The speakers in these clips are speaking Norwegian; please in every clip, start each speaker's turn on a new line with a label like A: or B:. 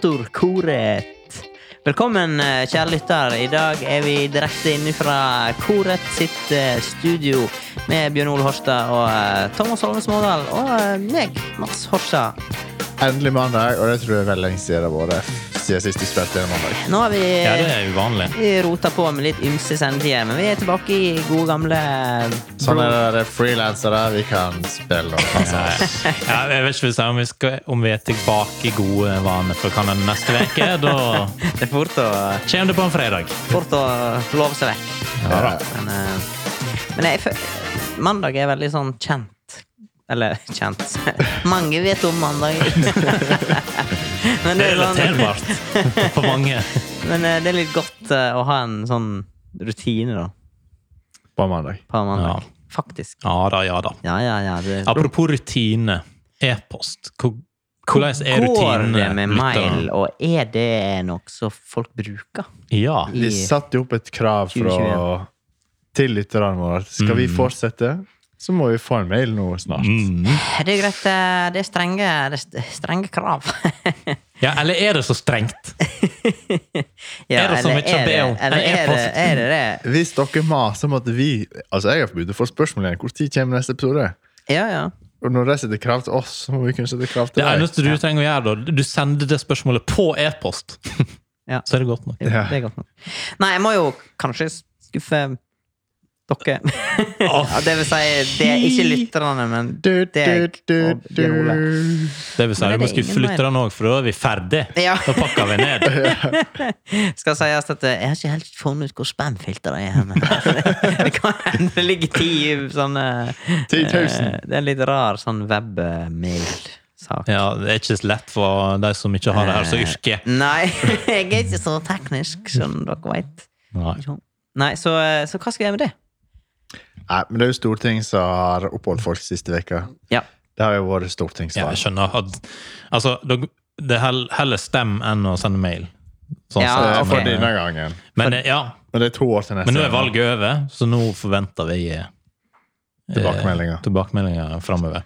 A: kommentatorkoret. Velkommen, eh, kjære lytter. I dag er vi direkte inne fra koret sitt eh, studio med Bjørn Ole Horstad og eh, Thomas Holme Smådal og eh, meg, Mats Horstad.
B: Endelig mandag, og det tror jeg er veldig lenge siden det har vært. Siden sist du spilte en mandag.
A: Nå har vi
C: Ja, det er uvanlig.
A: vi rota på med litt ymse sendetider, men vi er tilbake i gode, gamle
B: Sånn er det, det er frilansere. Vi kan spille og
A: Altså.
B: danse.
C: Ja, ja, jeg vet ikke hvis jeg- om vi, skal, om vi er tilbake i gode vaner for Canada neste uke. Da
A: Det er fort å,
C: kommer det på en fredag.
A: fort å love seg vekk.
B: Ja,
A: Men, eh, men jeg, fø- mandag er veldig sånn kjent. Eller kjent Mange vet om mandag. men,
C: Det
A: det
C: er
A: er sånn,
C: relaterbart for mange.
A: men eh, det er litt godt eh, å ha en sånn rutine da
B: På mandag.
A: på mandag.
C: Ja.
A: Faktisk.
C: Ja da, ja da.
A: Ja, ja, ja. Det,
C: Apropos rutine. E-post. Hvor- Hvordan er eh,
A: går
C: rutinene?
A: det med
C: lytterne?
A: mail, og er det noe som folk bruker?
C: Ja.
B: Vi satte jo opp et krav fra,
A: 2021.
B: til lytterne våre. Skal vi fortsette, så må vi få en mail nå snart.
C: Mm.
A: Det er greit. eh, Det er strenge, det er st- strenge krav.
C: ja. Eller er det så strengt?
A: Ja,
C: Er det så
A: eller
C: mye å be om?
A: Eller er det,
C: En e-post?
A: er det det?
B: Hvis dere maser om at vi Altså, jeg har forbudt å få spørsmål igjen. Hvor tid kommer neste episode?
A: Ja, ja.
B: Og når de setter krav til oss, så må vi kunne sette krav til
C: Det
B: deg.
C: eneste du trenger å gjøre, da, du sender det spørsmålet på e-post.
A: Ja.
C: Så er det godt nok.
A: Jo,
B: Ja.
A: Det er godt nok. Nei, jeg må jo kanskje skuffe dere.
C: Åh,
A: Ja, det vil si, det er ikke lytterne, men
B: Du,
A: deg
B: du,
A: og
B: du,
A: Bjørn Ole.
B: du.
C: Det vil si,
A: Men
C: vi
A: er
C: må
A: det
C: skuffe
A: ingen mail?
C: lytterne òg, for da er vi ferdig.
A: Ja.
C: Da pakker vi ned.
A: Skal sies at eh, jeg har ikke helt funnet ut hvor spamfilteret er. Men det kan hende det ligger ti sånne
B: 10.000.
A: eh, Det er en litt rar sånn webmail-sak.
C: Ja, det er ikke så lett for de som ikke har det her
A: Eh,
C: som yrke.
A: Nei, jeg er ikke så teknisk, som dere veit.
C: Nei.
A: Nei, så, eh, så hva skal jeg gjøre med det?
B: Nei, men det er jo storting som har oppholdt folk siste veka.
A: Ja.
B: Det har jo vært
C: Ja,
B: stortingssvar.
C: jeg skjønner at Altså, dog- det er hell- heller stem enn å sende mail. Sånn
A: Ja,
B: Eh,
C: sett,
B: For
A: ok.
C: men,
B: denne gangen.
C: men eh, ja,
B: Men det er to år til neste
C: men nå er valget over, så nå forventer vi eh,
B: Tilbakemeldinger.
C: tilbakemeldinger framover.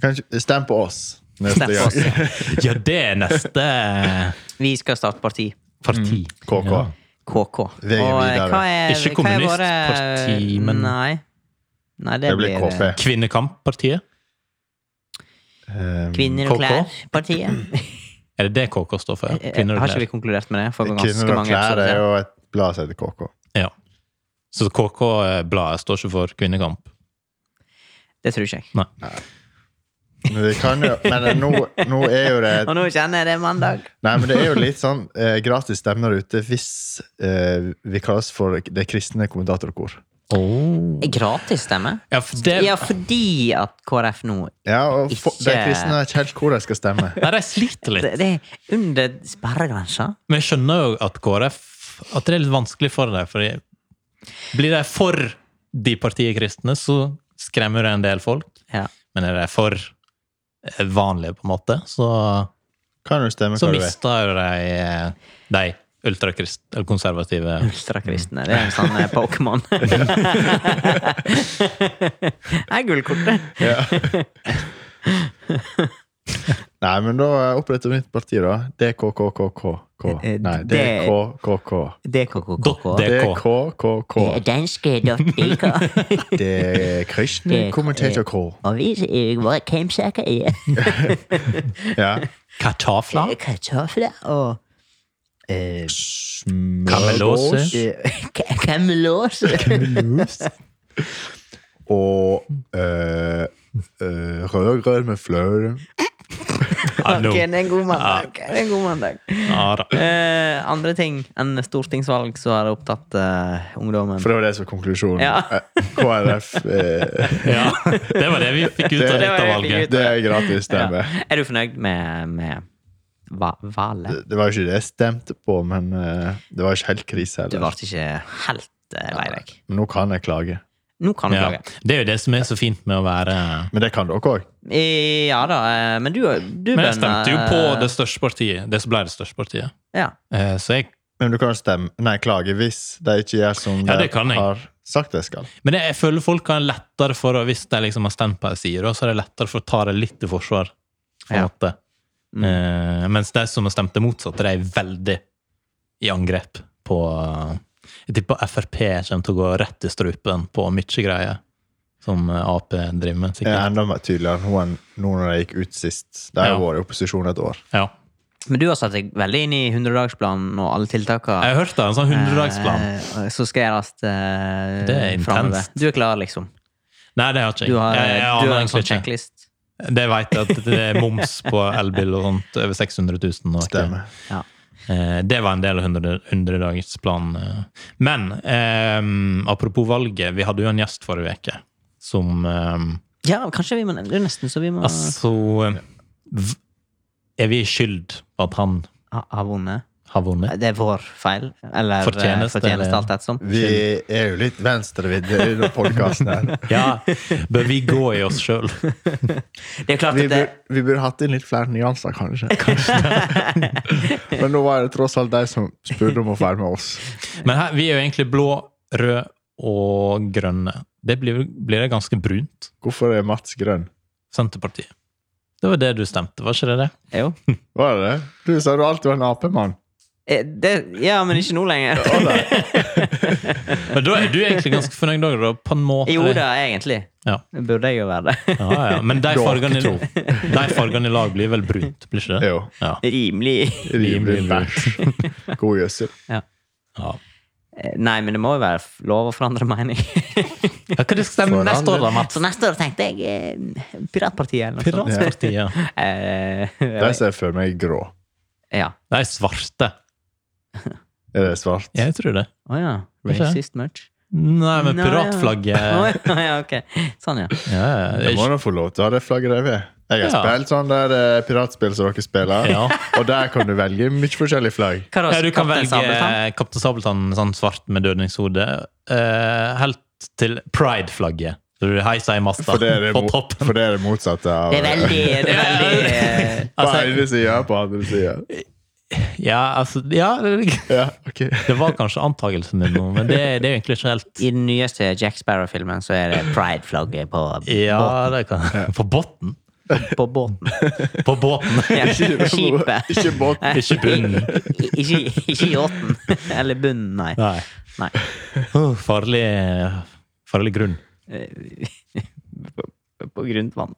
B: Kan ikke- Stem på oss neste
A: Stem på oss,
B: gang.
C: Ja, det er neste
A: Vi skal starte parti.
C: parti.
B: KK.
C: Ja.
A: KK.
B: Veien
A: eh,
B: videre.
A: hva er,
C: Ikke
A: hva er våre-
C: kommunistparti, men-
A: Nei. Nei, det, eh,
B: Det blir KP.
C: Kvinnekamppartiet?
B: Um,
A: Kvinner og
C: KK?
A: klær-partiet.
C: Er det det KK står for? ja? Kvinner og
A: Eh, Har ikke
C: klær.
A: vi konkludert med det? For ganske
B: Kvinner og
A: mange
B: klær
A: episoder
B: er
A: siden.
B: jo et blad som heter KK.
C: Ja. Så KK-bladet står ikke for Kvinnekamp?
A: Det tror ikke jeg.
C: Nei.
B: Men, vi kan jo, men eh, nå, nå er jo det
A: Og nå kjenner jeg det er mandag.
B: Nei, men det er jo litt sånn eh, gratis stemmer ute hvis eh, vi kalles for Det kristne kommentatorkor.
A: Er Gratis stemme?
C: Ja, for det,
A: Oh. Ja, fordi at KrF nå
B: Ja, og for,
A: Ikke-
B: De kristne vet ikke helt hvor de skal stemme.
C: Nei, de sliter litt.
A: Det, det er under sperregrensa.
C: Men jeg skjønner jo at KrF At det er litt vanskelig for dem. Fordi blir de for de partiet kristne, så skremmer det en del folk.
A: Ja.
C: Men er de for eh, vanlige, på en måte, så,
B: Kan du stemme
C: så
B: hva du vil?
C: mister jo de eh, de ultrakrist- eller konservative
A: Ultrakristne. Det er en sånn eh, Pokémon. Det er gullkortet.
B: Ja. Nei, men da oppretter vi nytt parti, da. DKKKK.
A: Eh,
B: Nei,
A: det-
B: DKKK.
A: DKKK.
C: Det-
B: DKKK.
A: Danske.ik.
B: Det er kristne
A: Det-
B: kommentator-K.
A: Og vi var kemsaker i
B: Ja.
C: kartafla.
A: kartofler og eh,
C: Kamelose.
A: eh, ka- kamelås.
B: Og øh, øh, rødgrød med fløte.
C: Ja, nå.
A: Ok, det er en god mandag. Det er en god mandag.
C: Ja, da.
A: Eh, andre ting enn stortingsvalg som har opptatt eh, ungdommen.
B: For det var det som var konklusjonen.
A: Ja.
B: Eh, KrF. eh,
C: ja, det var det vi fikk ut av
A: var
B: Det
C: dette
A: det vi fikk ut.
C: valget.
B: det er gratis stemme.
A: Er du fornøyd med, med va valet?
B: Det var jo ikke det jeg stemte på, men eh, det var ikke helt krise
A: Du
B: heller.
A: ble ikke helt eh, lei deg.
B: Men nå kan jeg klage.
A: Nå kan du
C: Ja.
A: klage.
C: Det er jo det som er så fint med å være
B: Men det kan dere òg.
A: Eh, Ja da, eh, men du, du
C: Men jeg
A: bønner,
C: stemte jo på
A: eh,
C: det største partiet. Det som ble det største partiet.
A: Ja.
C: Eh, Så jeg
B: Men du kan jo stemme Nei, klage hvis de ikke gjør som
C: Ja,
B: de
C: det kan jeg.
B: har sagt de skal.
C: Men jeg, jeg føler folk har lettere for å, hvis de liksom har stemt på en side, da, så er det lettere for å ta det litt i forsvar. På en
A: Ja. Mm.
C: måte. Eh, mens de som stemte motsatt, de er veldig i angrep på Jeg tipper Frp kommer til å gå rett i strupen på mye greier som eh, Ap driver med.
B: Det er
C: sikkert.
B: enda mer tydeligere nå enn nå når de gikk ut sist. De har
C: Ja.
B: vært i opposisjon et år.
C: Ja.
A: Men du har satt deg veldig inn i 100-dagsplanen og alle tiltakene.
C: Jeg har hørt det, en sånn hundredagsplan.
A: Eh, som skal gjøres eh,
C: Det er intenst.
A: fremover. Du er klar, liksom.
C: Nei, det har jeg ikke.
A: Du har,
C: jeg, jeg,
A: du har
C: aner
A: en
C: egentlig
A: sånn
C: ikke.
A: sjekklist.
C: Det vet jeg at det er moms på elbil og sånt. Over 600 000. Og,
B: Stemmer.
A: Ja.
C: Eh, det var en del av 100 100-dagersplanen. eh. Men eh, apropos valget, vi hadde jo en gjest forrige uke som eh,
A: Ja, kanskje vi må Det er nesten så vi må
C: Altså v- Er vi skyld på at han
A: ha, ha vunnet.
C: har vunnet?
A: Det er vår feil. Eller eh, fortjeneste,
C: Fortjeneste,
A: fortjeneste
C: eller-
A: alt ettersom.
B: Vi er jo litt venstrevidde i denne podkasten her.
C: Ja, bør vi gå i oss sjøl?
A: Det er klart
B: Vi
A: at det
B: burde, vi burde hatt inn litt flere nyanser, kanskje. Men nå var det tross alt de som spurte om å få være med oss.
C: Men her, vi er jo egentlig blå, rød og grønne. Det blir, blir det ganske brunt.
B: Hvorfor er Mats grønn?
C: Senterpartiet. Det var det du stemte, var ikke det det?
A: Jo.
B: Var det det? Du sa du alltid var en apemann.
A: Eh, Det, ja, men ikke nå lenger.
C: Men da er du egentlig ganske fornøyd òg, da? På en måte.
A: Jo da, egentlig.
C: Ja.
A: Burde jeg jo være det.
C: Ja, ja. Men de
B: Dere
C: fargene,
B: to.
C: i, de fargene i lag blir vel brunt, blir ikke det?
B: Jo.
C: Ja.
A: Rimelig.
B: Rimelig bæsj. God gjødsel.
C: ja.
A: Eh, Nei, men det må jo være f- lov å forandre mening.
C: Ja, Hva skal stemme
B: For
C: neste år, da, Mats?
A: Så neste år tenkte jeg eh, Piratpartiet eller noe sånt.
C: Piratpartiet.
A: Eh,
B: De ser jeg for meg grå.
A: ja.
C: De er svarte.
B: Er det svart?
C: Jeg tror det.
A: Å ja.
C: Ikke?
A: Racist merch.
C: Nei, men
A: Nei, ja. Å
C: piratflagget
A: ja, ja, ok. Sånn, ja.
C: ja,
B: Jeg må
C: ja.
B: nå få lov til å ha det flagget der ved. Jeg har
C: Ja.
B: spilt sånn der eh, piratspill som dere spiller,
C: Ja.
B: og der kan du velge mye forskjellige flagg.
A: Hva da?
C: Ja, du kan
A: Kaptein Sabeltann?
C: velge eh, Kaptein Sabeltann sånn svart med dødningshode, eh, helt til pride-flagget. Så du heiser i masta
B: For det er det,
C: på
B: mo-
C: toppen.
B: for det, er det motsatte av
A: Det
B: eh,
A: er veldig, det er veldig eh,
B: På
C: Altså,
B: ene sida på andre sida.
C: ja, altså, ja, det
B: Ja, ok.
C: var kanskje antakelsen min nå, men det, det er jo egentlig ikke helt
A: I den nyeste Jack Sparrow-filmen så er det pride-flagget på,
C: Ja, det kan På båten?
A: på båten.
C: På båten!
A: Ja, skipet.
B: Ikke båt.
A: Nei,
C: Ikke bunnen.
A: i- i- Ikke ikke yachten. Eller bunnen, nei.
C: Nei.
A: nei.
C: Uh, Farlig, farlig grunn.
A: På- Eh, På grunt vann.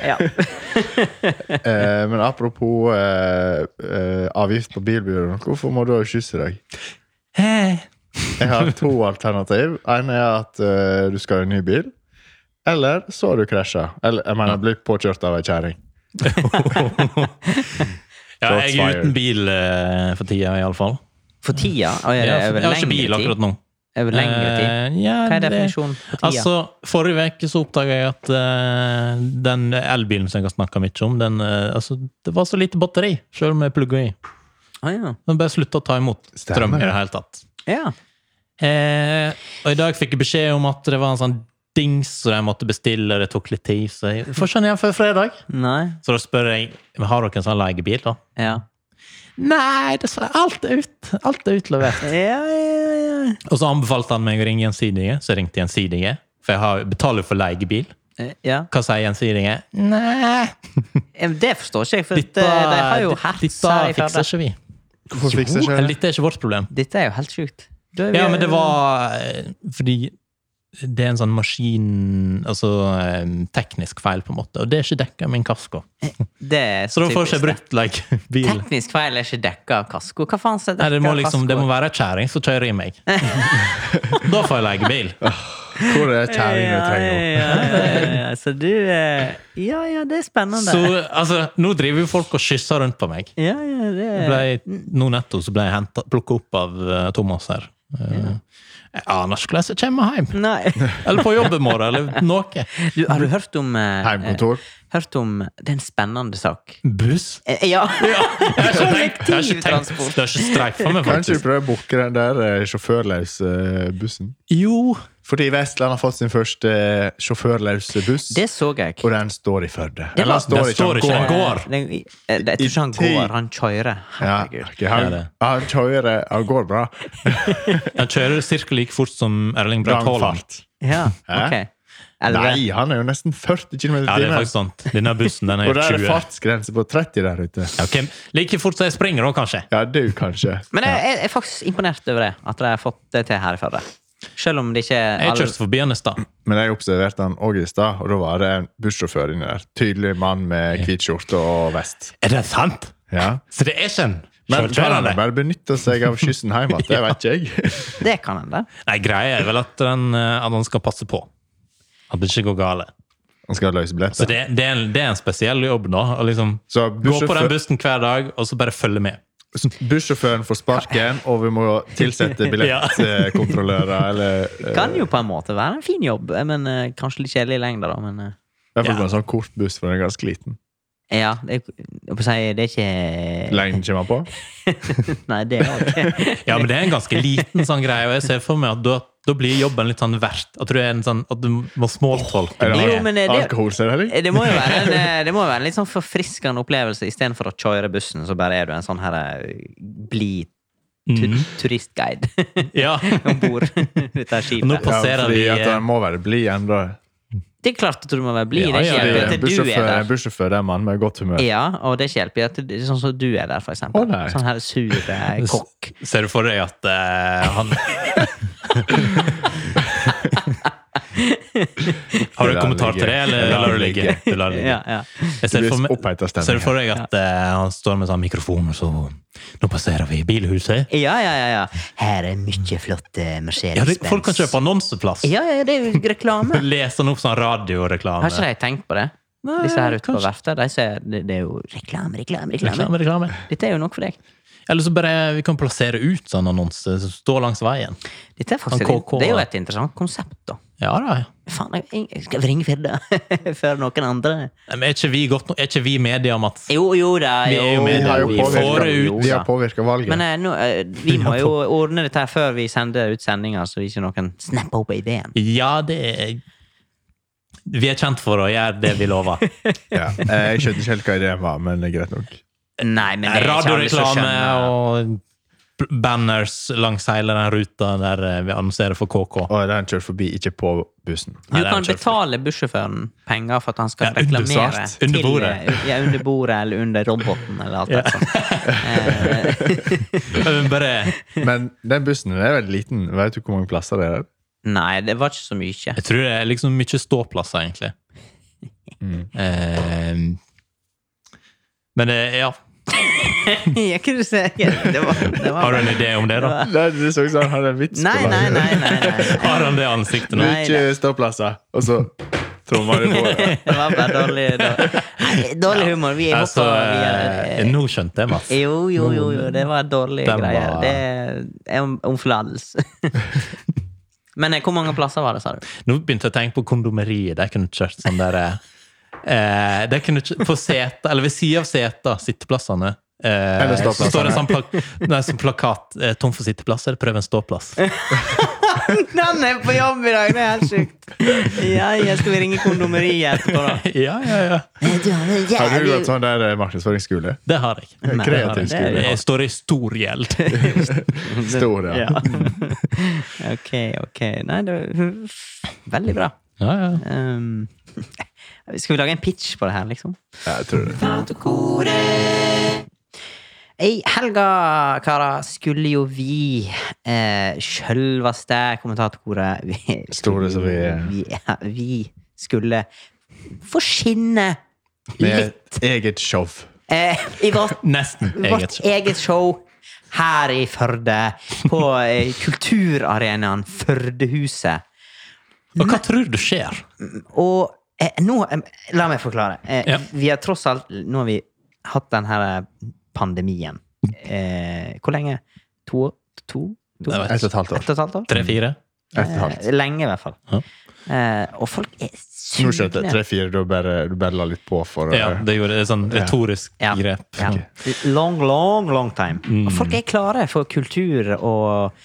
A: Ja.
B: Eh, men apropos eh, eh, avgift på bilburen, hvorfor må du ha skyss i dag? Jeg har to alternativ. En er at eh, du skal ha en ny bil. Eller så har du krasja. Eller jeg mener blitt påkjørt av ei kjerring.
C: Ja,
B: Shots
C: jeg er
B: fired.
C: uten bil eh, for tida, iallfall.
A: For tida? Og er
C: Jeg
A: det
C: har
A: over
C: jeg har ikke bil
A: lengre tid?
C: akkurat nå.
A: Over lengre tid?
C: Eh, ja,
A: Hva er
C: det-
A: definisjonen på tida?
C: Altså, Forrige uke så oppdaga jeg at eh, den elbilen som jeg har snakka mye om, den, eh, altså, det var så lite batteri, sjøl om jeg plugga i. Altså-
A: Å, ja.
C: Den bare slutta å ta imot strøm
B: Stemmer.
C: i det hele tatt.
A: ja.
C: Eh, og i dag fikk jeg beskjed om at det var en sånn dings, så jeg måtte bestille, det tok litt tid. Så jeg får skjønne igjen før fredag.
A: Nei.
C: Så da spør jeg men har dere en sånn leiebil, da.
A: Ja.
C: Nei, dessverre. Alt er ut. Alt er utlevert.
A: Ja, ja, ja.
C: Og så anbefalte han meg å ringe Gjensidige, så jeg ringte Gjensidige. For jeg har, betaler jo for leiebil.
A: Eh, ja.
C: Hva sier Gjensidige? Nei
A: Eh, Det forstår ikke jeg, for
C: Dette,
A: det, de har jo
C: dette
A: hertz her i Førde.
C: fikser ikke vi.
B: Hvorfor fikser ikke jeg det?
C: Dette er ikke vårt problem.
A: Dette er jo helt sjukt. Da er vi-
C: Ja, men det var eh, fordi det er en sånn maskin Altså eh, teknisk feil, på en måte. Og det er ikke dekka min kasko.
A: Eh, Det er
C: Så da får jeg
A: typisk
C: ikke brukt like, bil.
A: Teknisk feil er ikke dekka av kasko. Hva faen skal
C: Nei, det må liksom, det må
A: kasko?
C: være ei kjerring som kjører i meg. da får jeg leiebil.
B: Hvor er kjerringa du
A: ja,
B: trenger henne?
A: ja, ja, ja. Så du eh, Ja, ja, det er spennende.
C: Så altså, nå driver jo folk og skysser rundt på meg.
A: ja, ja, det
C: Jeg
A: er
C: Ble, nå nettopp så ble jeg hentet- plukket opp av eh, Thomas her. Eh, Jeg aner ikke hvordan jeg kommer hjem.
A: Nei.
C: Eller på jobb i morgen, eller noe.
A: Du, har du hørt om eh,
B: Heimkontor.
A: eh, Hørt om Det er en spennende sak.
C: Buss?
A: Eh, ja.
C: Jeg har ikke tenkt, jeg har ikke tenkt
A: Kollektivtransport.
C: Det har ikke streifa
B: Kan
C: meg,
B: ikke du
C: faktisk.
B: prøve å booke den der eh, sjåførløse eh, bussen?
C: Jo,
B: Fordi Vestland har fått sin første eh, sjåførløse buss,
A: Det så jeg.
B: og den står i Førde.
A: Det var-
B: Eller den står
C: Den
B: ikke,
C: står
B: den
C: ikke,
B: går.
C: den går.
A: Den- eh, Jeg tror ikke han
B: I ti-
A: går, han kjører.
B: Ja,
A: Herregud.
B: ok, han,
C: Ja, det.
B: han kjører, eh, han går bra.
C: jeg kjører cirka like fort som Erling Braut
B: Lang
C: Haaland.
B: fart.
A: Ja,
B: Hæ?
A: ok. 11.
B: Nei, han er jo nesten 40 km i
C: Ja, det er
B: timen.
C: faktisk sant. Denne bussen den er
B: Og
C: jo
B: der er
C: 20.
B: det fartsgrense på 30 der ute.
C: Ja, ok. Like fort som jeg springer, da, kanskje.
B: Ja, du kanskje.
A: Men jeg, jeg er faktisk imponert over det, at de har fått det til her i Førde. Selv om det ikke er
C: Jeg
A: alle
C: kjørte forbi han i stad.
B: Men jeg observerte han òg i stad, og da var det en bussjåfør inni der. Tydelig mann med hvit skjorte og vest.
C: Er det sant?
B: Ja.
C: Så det er ikke en
B: Men han
C: sjølkjørende?
B: bare benytter seg av kyssen hjemme, det vet ikke jeg.
A: Det kan hende.
C: Nei, greia er vel at, den, eh, at han skal passe på. At det ikke går gale.
B: Han skal løse
C: Så
B: billetter.
C: det, det, er en, det er en spesiell jobb, da. Å liksom
B: Så
C: gå på den
B: bussjåfør,
C: bussen hver dag, og så bare følge med.
B: bussjåføren får sparken, og vi må tilsette billettkontrollører eller eh,
A: Kan jo på en måte være en fin jobb, men eh, kanskje litt kjedelig i lengda, da. Men eh,
B: I hvert fall
C: Ja.
B: på en sånn kort buss, for den er ganske liten.
A: ja, det, jeg holdt på å si, det er ikke
B: Lengden kommer han på.
A: Nei, det er ok.
C: Ja, men det er en ganske liten sånn greie, og jeg ser for meg at da, da blir jobben litt sånn verdt. At du, er en sånn, at du må smalltalke.
B: Er det,
A: Jo, men, eh, det-
B: alkoholservering?
A: Det må jo være en, eh, det må jo være en litt sånn forfriskende opplevelse. Istedenfor å kjøre bussen, så bare er du en sånn her eh, blid tu
B: Mm.
C: Mhm.
A: turistguide
C: Ja.
A: om bord ute av
C: Nå
A: skipet.
C: på- passerer
B: fordi
C: vi,
B: at
C: eh,
B: han må være blid ennå.
A: Det er klart at du må være blid. Det er
C: Ja,
A: ikke
C: ja,
A: hjelp i
C: ja.
A: at
B: En
A: du er
B: bussjåfør en
A: der.
B: bussjåfør er en mann med godt humør.
A: Ja, og det er ikke hjelp i at det er sånn som du er der, for eksempel.
B: Å, nei.
A: sånn her sur eh, kokk.
C: Ser du for deg at eh, han Har du en kommentar til det, eller
B: Jeg lar
C: lar du
B: det
C: ligge?
B: ligge.
C: Du lar det ligge.
A: Ja, ja.
C: Jeg
B: Det
C: ser for
B: blir
C: meg,
B: oppheita
C: ser du
B: stemning.
C: for deg at eh, han står med sånn mikrofon, og så Nå passerer vi bilhuset.
A: Ja, ja, ja, ja. Her er mye flott eh, Mercedes
C: Ja, det, folk kan kjøpe annonseplass.
A: Ja, ja, det er jo reklame.
C: Leser han opp sånn radioreklame.
A: Har ikke de tenkt på det?
C: Nei,
A: Disse her ute på
C: kanskje.
A: verftet, de ser det, det er jo reklame, reklame, reklame.
C: Reklame, reklame.
A: Dette er jo nok for deg.
C: Eller så bare vi kan plassere ut sånn annonse som står langs veien.
A: Dette er faktisk
C: Han KK,
A: det er jo
C: da.
A: et interessant konsept, da.
C: Ja da. ja.
A: Faen, jeg, jeg skal ringe Firda før noen andre.
C: Nei, Men er ikke vi, godt, no- er ikke vi media, Mats?
A: Jo, jo da.
C: Vi er jo
A: jo,
C: med,
A: jo,
C: da. Vi
A: jo.
C: får det ut.
B: Vi har påvirka valget.
A: Men eh, nå, eh, vi
C: Vi
A: må
C: har
A: jo ordne dette her før vi sender ut sendinger, så ikke noen snapper opp ideen.
C: Ja, det er Vi er kjent for å gjøre det vi lover.
B: Ja. Eh, Jeg skjønte ikke helt hva ideen var, men det er greit nok.
A: Nei, men det er ikke alle som
C: Radioreklame
A: skjønner.
C: og b- banners langs hele den ruta der eh, vi annonserer for KK.
B: Og den kjørte forbi, ikke på bussen.
A: Du
C: Nei, det er
A: kan
C: kjøpt.
A: betale bussjåføren penger for at han skal
C: Ja, under
A: reklamere
C: sart. Under
A: til,
C: bordet.
A: eh, Ja, under bordet eller under roboten eller alt det sånt. Eh,
C: Men Bare,
B: Men den bussen den er veldig liten. Vet du hvor mange plasser det er?
A: nei, det var ikke så mye.
C: jeg tror det er liksom mye ståplasser, egentlig.
B: Mm.
C: Eh, men eh, ja.
A: Jeg kunne se det var, det var
C: Har du en idé om det, da?
B: Nei, det så ut som han hadde en vits. på
A: Nei,
B: laget.
A: nei, nei. nei, nei.
C: Har han det ansiktet nå?
A: Nei.
B: Mye ståplasser. Og så trommer de på. det.
A: Det var bare dårlig, dårlig. Nei, dårlig humor. Vi
C: Altså,
A: hopper
C: eh,
A: videre.
C: nå skjønte jeg, Mats.
A: Jo, jo, jo, jo, det var dårlige
C: Den var-
A: greier. Det er om- omflatelse. Men eh, hvor mange plasser var det, sa du?
C: Nå begynte jeg å tenke på kondomeriet. Der kunne du kjørt sånn der eh, der kunne du kjø- På seta, eller ved siden av seta, sitteplassene. Eh,
B: Eller
C: så
B: ståplassene.
C: står det sånn, plak nei, sånn plakat eh, 'Tom for sitteplasser, prøv en ståplass'.
A: Den er på jobb i dag, det er helt sjukt. Ja, jeg skal vi ringe kondomeriet etterpå, da.
C: ja, ja, ja.
A: Eh,
B: Har du gått sånn der eh, markedsføringsskole?
C: Det har jeg.
A: Nei,
C: Det har
B: Kreativ
C: jeg.
A: det er
B: skole.
C: Jeg står i stor gjeld.
B: Stor, ja.
A: ok, ok. Nei, det var veldig bra.
C: Ja, ja.
A: Um, skal vi lage en pitch på det her, liksom?
B: Ja, Jeg tror det.
A: I helga, karer, skulle jo vi eh, sjølveste kommentatorkoret vi,
B: Store som vi er.
A: vi, ja, vi skulle forskinne
B: Med et eget show.
A: eh, i vårt,
C: Nesten eget.
A: vårt eget show her i Førde. På eh, kulturarenaen Førdehuset.
C: Og hva tror du skjer?
A: Og eh, nå eh, La meg forklare. Eh,
C: Ja.
A: Vi har tross alt Nå har vi hatt den her pandemien. Eh, hvor lenge? To? to, to
C: Jeg vet
B: Ett og et halvt år.
A: Ett og et halvt år?
C: Tre-fire?
B: Ett og et halvt.
A: Eh, Lenge, i hvert fall.
C: Ja.
A: Eh, og folk er
B: Nå skjønte jeg
A: sugne.
B: tre-fire, da bare, du bare la litt på for å
C: Ja, det gjorde et sånn retorisk
A: Ja.
C: grep. Mm.
A: Ja. Long, long, long time. Og folk er klare for kultur og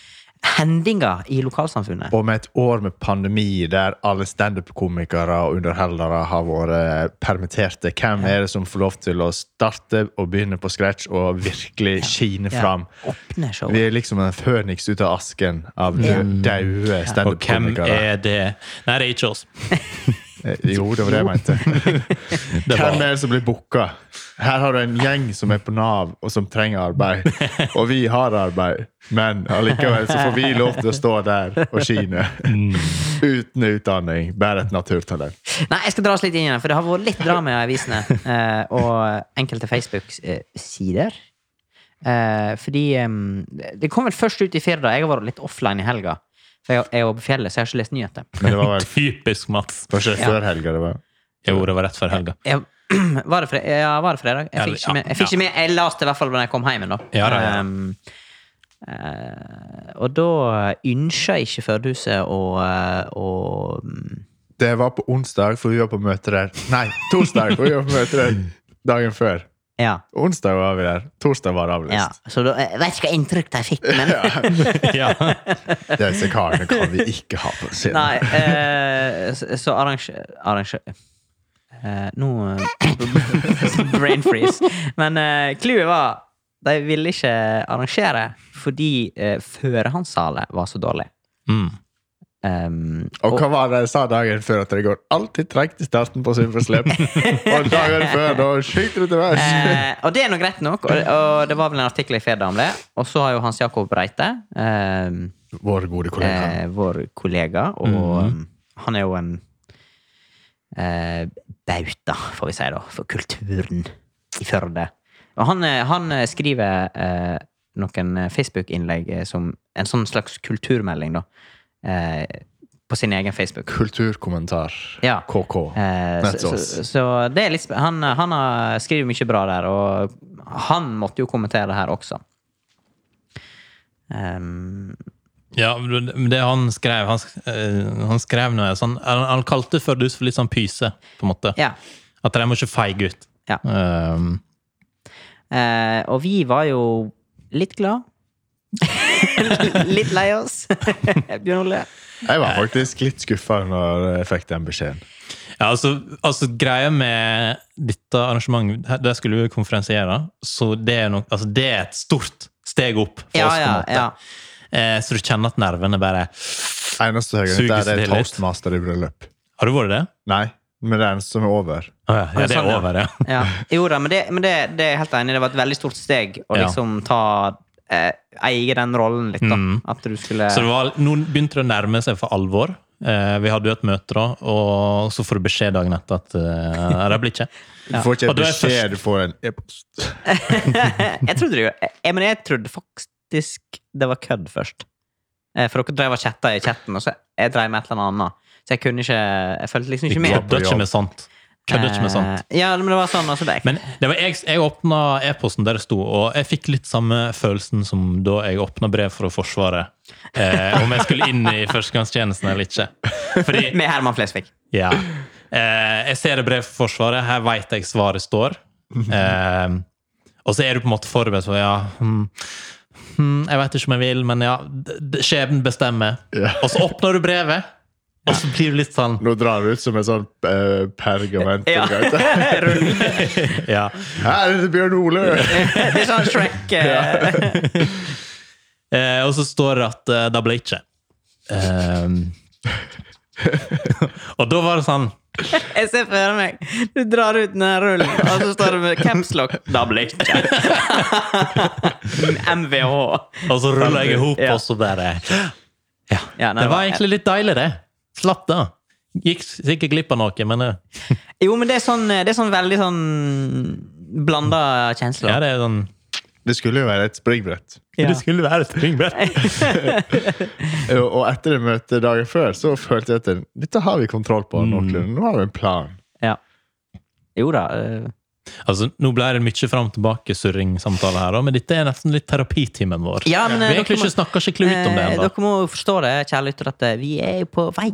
A: hendinger i lokalsamfunnet.
B: Og med et år med pandemi der alle standup-komikere og underholdere har vært permitterte, hvem er det som får lov til å starte og begynne på scratch og virkelig skine
A: Ja.
B: fram?
A: Åpne show.
B: Vi er liksom en føniks ut av asken av dø- daue
C: Og hvem
B: standup-komikere.
C: er det? Nei, det er ikke oss.
B: Eh, Jo, det var det jeg mente.
C: Det var-
B: Hvem er det som blir booka? Her har du en gjeng som er på Nav, og som trenger arbeid. Og vi har arbeid, men allikevel så får vi lov til å stå der og skine. Mm. Uten utdanning, bare et naturtalent.
A: Nei, jeg skal dra oss litt inn igjen, for det har vært litt drama i avisene eh, og enkelte Facebook-sider. Eh, fordi eh, Det kom vel først ut i fredag. Jeg har vært litt offline i helga. For jeg, jeg er jo på fjellet, så jeg har ikke lest nyheter.
B: Men det var vel
C: Typisk Mats.
B: kanskje
A: Ja.
B: før helga det var.
C: Jeg gjorde det var rett før helga.
A: Jeg, var, det fre ja, var det fredag? Jeg fikk
C: Ja,
A: ikke med. Jeg, fikk
C: ja.
A: ikke med. jeg leste i hvert fall da jeg kom hjem igjen, da.
C: Ja, da, ja.
A: Um, eh, og da ønska ikke Førdehuset å, eh, å
B: Det var på onsdag, for vi var på møte der. Nei, torsdag, for vi var på møte der dagen før.
A: Ja.
B: Onsdag var vi der. Torsdag var det
A: ja.
B: avlyst.
A: Så da, jeg vet ikke hva inntrykk de fikk, men
C: Ja.
B: Disse karene kan vi ikke ha på siden.
A: Nei, eh, så- så arranger... arranger eh, nå eh, Brain freeze. Men eh, clouet var de ville ikke arrangere fordi eh, førehandssalet var så dårlig.
C: Mm.
A: Um,
B: Og hva var det jeg sa dagen før? At det går alltid tregt i starten på Superslep. og dagen før, da skyter det til værs.
A: Eh, og det er nå greit nok, og, og det var vel en artikkel i Fredag om det. Og så har jo Hans Jakob Reite, eh,
B: Vår gode kollega.
A: eh, vår kollega, og
C: Mhm.
A: eh, han er jo en eh, bauta, får vi si da, for kulturen i Førde. Og han, eh, han eh, skriver eh, noen eh, Facebook-innlegg eh, som en sånn slags kulturmelding, da. Eh, på sin egen Facebook.
B: Kulturkommentar.
A: Ja.
B: KK.
A: Eh,
B: That's
A: så,
B: us.
A: så, så det er litt sp- han, han har skriver mye bra der, og han måtte jo kommentere det her også. Ehm,
C: Ja, men det han skrev Han, sk- eh, han skrev noe sånn Han, han kalte Førdehus for litt sånn pyse, på en måte.
A: ja.
C: At de må ikke feige ut.
A: Ja.
C: Um,
A: Eh, og vi var jo litt glad. litt lei oss. Bjørn Ole.
B: Jeg
A: eh.
B: var faktisk litt skuffa når jeg fikk den beskjeden.
C: ja, altså, altså Greia med dette arrangementet her- Der skulle vi jo konferensiere, så det er, nok, altså, det er et stort steg opp for
A: Ja,
C: oss. på en
A: ja,
C: måte.
A: ja.
C: Eh, så du kjenner at nervene bare
B: Eneste
C: Suges
B: høyere det
C: det
B: er
C: litt?
B: toastmaster i bryllup.
C: Har du vært det?
B: Nei, men den som er over.
C: Å ja, ja, det
A: sånn,
C: er
A: ja.
C: over, ja.
A: ja. Jo da, men, det, men det, det er jeg helt enig i. Det var et veldig stort steg å
C: Ja.
A: liksom ta eh, Eie den rollen litt, da.
C: Mm.
A: At du skulle
C: Så det var, nå begynte det å nærme seg for alvor. Eh, vi hadde jo et møte, da, og så får du beskjed dagen etter at eh, det blir ikke.
B: Du får ikke
C: Og
B: en
C: da er
B: beskjed, du får en e-post.
A: jeg trodde det jo jeg, Men jeg trodde faktisk det var kødd først. Eh, For dere drev og chatta i chatten, og så jeg drev med et eller annet. Så jeg kunne ikke Jeg følte liksom ikke med.
C: Kødder ikke med sånt. Kødder ikke med sånt.
A: Eh, Ja, men det var sånn, altså. Det.
C: Men det var jeg, jeg åpna e-posten der det sto, og jeg fikk litt samme følelsen som da jeg åpna brev fra Forsvaret. Eh, om jeg skulle inn i førstegangstjenesten eller ikke. Fordi,
A: Med Herman Flesvig.
C: ja. Eh, jeg ser et brev fra Forsvaret, her veit jeg svaret står. Eh, og så er du på en måte forberedt på ja, hm, hm, Jeg veit ikke om jeg vil, men ja, d- d- skjebnen bestemmer.
B: Ja.
C: Og så åpner du brevet, og så blir det litt sånn
B: Nå drar det ut som en sånn eh, pergament.
A: Ja. Rull.
C: ja.
B: Her er det Bjørn Ole!
A: det er sånn Shrek eh,
C: Eh, og så står det at eh, det ble ikke. Ehm. og da var det sånn
A: Jeg ser for meg du drar ut den her rullen, og så står det med capslock. Da blir det ikke MVH.
C: Og så ruller jeg i hop,
A: Ja.
C: og så bare Ja.
A: Ja, nei,
C: det var
A: det var-
C: egentlig litt deilig, det. Slapp det. Gikk sikkert glipp av noe, men eh,
A: Jo, men det er sånn, det er sånn veldig sånn blanda kjensler.
C: ja, det er sånn
B: Det skulle jo være et springbrett.
A: Ja.
C: Det skulle være et springbrett.
B: Og Eh, og etter det møtet dagen før så følte jeg at den- dette har vi kontroll på.
C: Mm.
B: noenlunde. Nå har vi en plan.
A: Ja. Jo da. eh,
C: Altså, nå ble det mye fram tilbake-surring-samtale her, da, men dette er nesten litt terapitimen vår.
A: Ja, men,
C: vi
A: eh,
C: har egentlig
A: dere må-
C: ikke snakka skikkelig ut om det
A: eh,
C: ennå.
A: Dere må jo forstå det, kjære lytter, at eh, vi er jo på vei.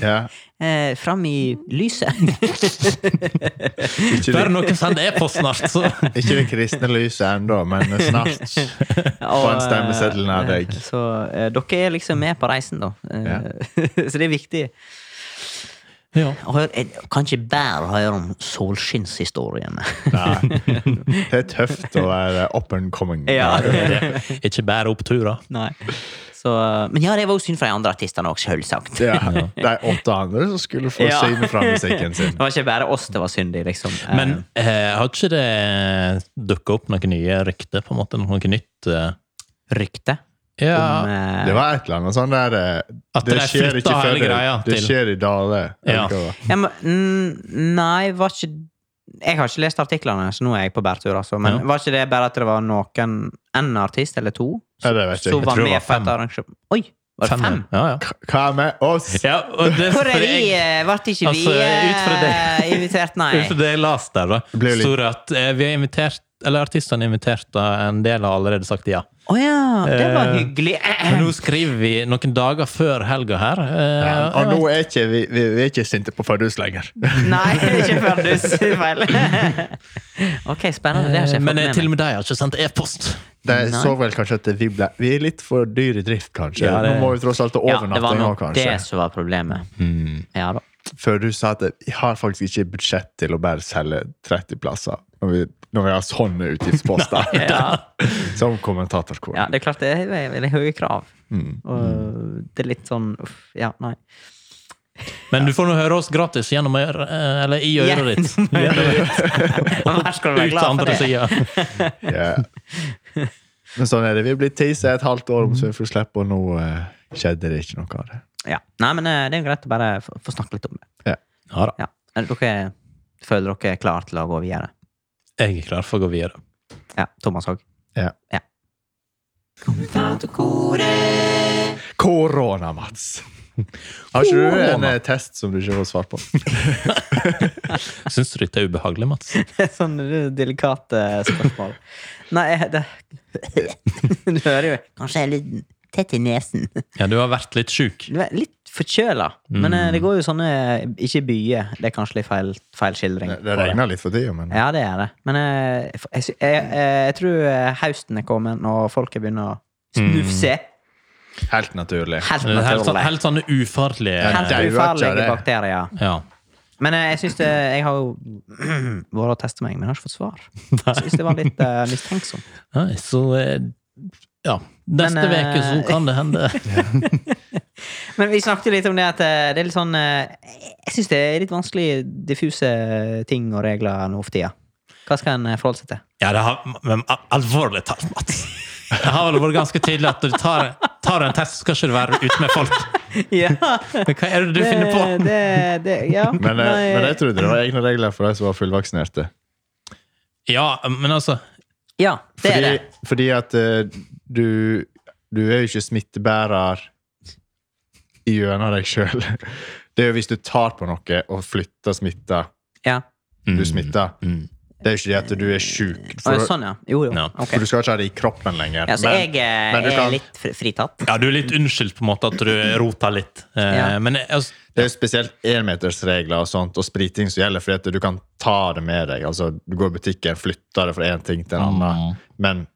B: Ja.
A: eh, fram i lyset.
B: Ikke,
C: Bare
B: det,
C: noe send e-post snart, så
B: ikke det kristne lyset ennå, men snart. Få en stemmeseddel av deg.
A: Eh, Så eh, dere er liksom med på reisen, da. Eh,
B: Ja.
A: så det er viktig.
C: ja.
A: Hør, jeg kan ikke bare høre om solskinnshistoriene.
B: Nei. Det er tøft å være up and coming.
A: Ja.
C: Ikke bare oppturer.
A: Nei. Så, eh, men ja, det var jo synd for de andre artistene òg, selvsagt.
B: Ja. De åtte andre som skulle få
A: Ja.
B: syne fra musikken
A: Det
B: sin.
A: var ikke bare oss det var synd i, liksom. Eh,
C: Men eh, har ikke det dukka opp noen nye rykter, på en måte? Noe nytt? Eh?
A: rykte om
C: Ja,
A: eh,
B: Det var et eller annet sånn der eh,
C: At
B: Det
C: de
B: skjer
C: flytta
B: ikke før
C: hele
B: det,
C: greia
B: det
C: til-
B: skjer i Dale.
C: Ja.
B: eller hva?
A: Ja, men, mm, nei, var ikke Jeg har ikke lest artiklene, så nå er jeg på bærtur. Altså. Men
C: Ja.
A: var ikke det bare at det var noen en artist eller to
B: Ja, det vet jeg
A: som
B: ikke.
A: var
C: tror det
A: med
C: var
A: på et
C: fem.
A: arrangement? Oi, var det fem?
C: Ja, ja.
B: Hva med oss?
C: ja og det,
A: Hvor er
C: for
A: vi?
C: jeg-
A: Ble ikke vi
C: Altså, ut fra det-
A: eh, invitert, nei?
C: For det jeg las der, da,
B: Det ble jo litt-
C: står det at eh, vi har invitert eller artistene er invitert, da en del har allerede sagt ja.
A: Å ja, det var
C: Eh,
A: hyggelig.
C: Men nå skriver vi noen dager før helga her. eh,
B: Ja, og
C: jeg
B: nå
C: vet-
B: er ikke vi, vi, vi er ikke sinte på Fardus lenger.
A: Nei, det er ikke før du sier feil. Ok, spennende. Det har ikke jeg
C: Men
A: fått
C: eh,
A: med
C: til
A: meg.
C: og med de har ikke sendt e-post.
B: De
A: Nei.
B: så vel kanskje at vi ble Vi er litt for dyr i drift, kanskje.
C: Ja, det-
B: Nå må vi tross alt ha
A: Ja, det var
B: overnatting òg,
A: nok
B: kanskje. Mm.
A: det som var problemet. Ja da.
B: Før du sa at vi har faktisk ikke budsjett til å bare selge 30 plasser. Når vi, når vi har sånne utgiftsposter.
A: Ja.
B: Som kommentatorkor. Mm.
A: Ja, det er klart det er ve- veldig høye krav. Og
C: Mm.
A: det er litt sånn uff, Ja, nei.
C: Men du får nå høre oss gratis gjennom øret, eh, eller i øret
A: Gjennom
C: ditt.
A: Men Her skal du være
C: Ut
A: glad for
C: andre
A: det.
C: sida.
B: Ja. Men sånn er det. Vi blir teasa et halvt år om så vi får slippe, og nå eh, skjedde det ikke noe av det.
A: Ja. Nei, men eh, det er jo greit å bare få få snakke litt om det.
C: Ja da.
A: Ja. Er Dere føler dere er klare til å gå videre?
C: Jeg er klar for å gå videre.
A: Ja. Thomas òg?
B: Ja.
A: Ja.
B: Korona, Mats! Har ikke du en eh, test som du ikke får svar på?
C: Syns du dette er ubehagelig, Mats?
A: Sånne Sånn delikate spørsmål. Nei, jeg- det Du hører jo Kanskje jeg er litt tett i nesen.
C: Ja, du har vært litt sjuk.
A: Du er litt forkjøla. Men eh, det går jo sånne Ikke byer. Det er kanskje litt feil, feil skildring.
B: Det,
A: på
B: det regner litt for tida, men
A: Ja, det er det. Men eh, jeg, sy- jeg, jeg, jeg tror eh, høsten er kommet, og folk er begynner å snufse.
B: helt naturlig.
A: Helt
C: Mm. Helt, sånn,
A: naturlig.
C: helt sånne ufarlige
A: Helt
B: Ja, det er jo
A: ufarlige
B: ikke det.
A: bakterier.
C: Ja.
A: Men eh, jeg syns det Jeg har jo vært og testa meg, men jeg har ikke fått svar. Jeg syns det var litt eh, mistenksom.
C: Nei, Så eh, ja. Neste
A: Men, eh,
C: uke så kan det hende.
A: Men vi snakket jo litt om det at eh, det er litt sånn eh, Jeg syns det er litt vanskelig diffuse eh, ting og regler nå for tida. Hva skal en eh, forholde seg til?
C: Ja, det har, men al- alvorlig talt, Mats. Det har vel vært ganske tydelig at du tar, tar en test, så skal ikke du være ute med folk.
A: Ja,
C: Men hva er det du finner på?
A: Det, det, ja.
B: Men, eh,
A: Nei,
B: men jeg trodde det var egne regler for de som var fullvaksinerte.
C: Ja, men altså
A: ja, det er
B: Fordi,
A: det.
B: fordi at eh, du, du er jo ikke smittebærer gjennom deg sjøl. Det er jo hvis du tar på noe og flytter smitta,
A: Ja.
B: du
C: Mm.
B: smitter.
C: Mm.
B: Det er jo ikke det at du er sjuk.
A: Å,
B: For,
A: Sånn, ja. Jo, jo.
C: Ja.
A: Ok.
B: for du skal ikke ha det i kroppen lenger.
A: Ja, så
B: Men-
A: jeg eh,
B: men du
A: er
B: kan-
A: litt fri- fritatt.
C: Ja, du er litt unnskyldt på en måte at du roter litt. Eh,
A: Ja.
C: Men eh, altså,
B: Det er jo spesielt enmetersregler og sånt, og spriting som gjelder, fordi at du kan ta det med deg. Altså, du går i butikken, flytter det fra én ting til en
C: Mm.
B: annen, men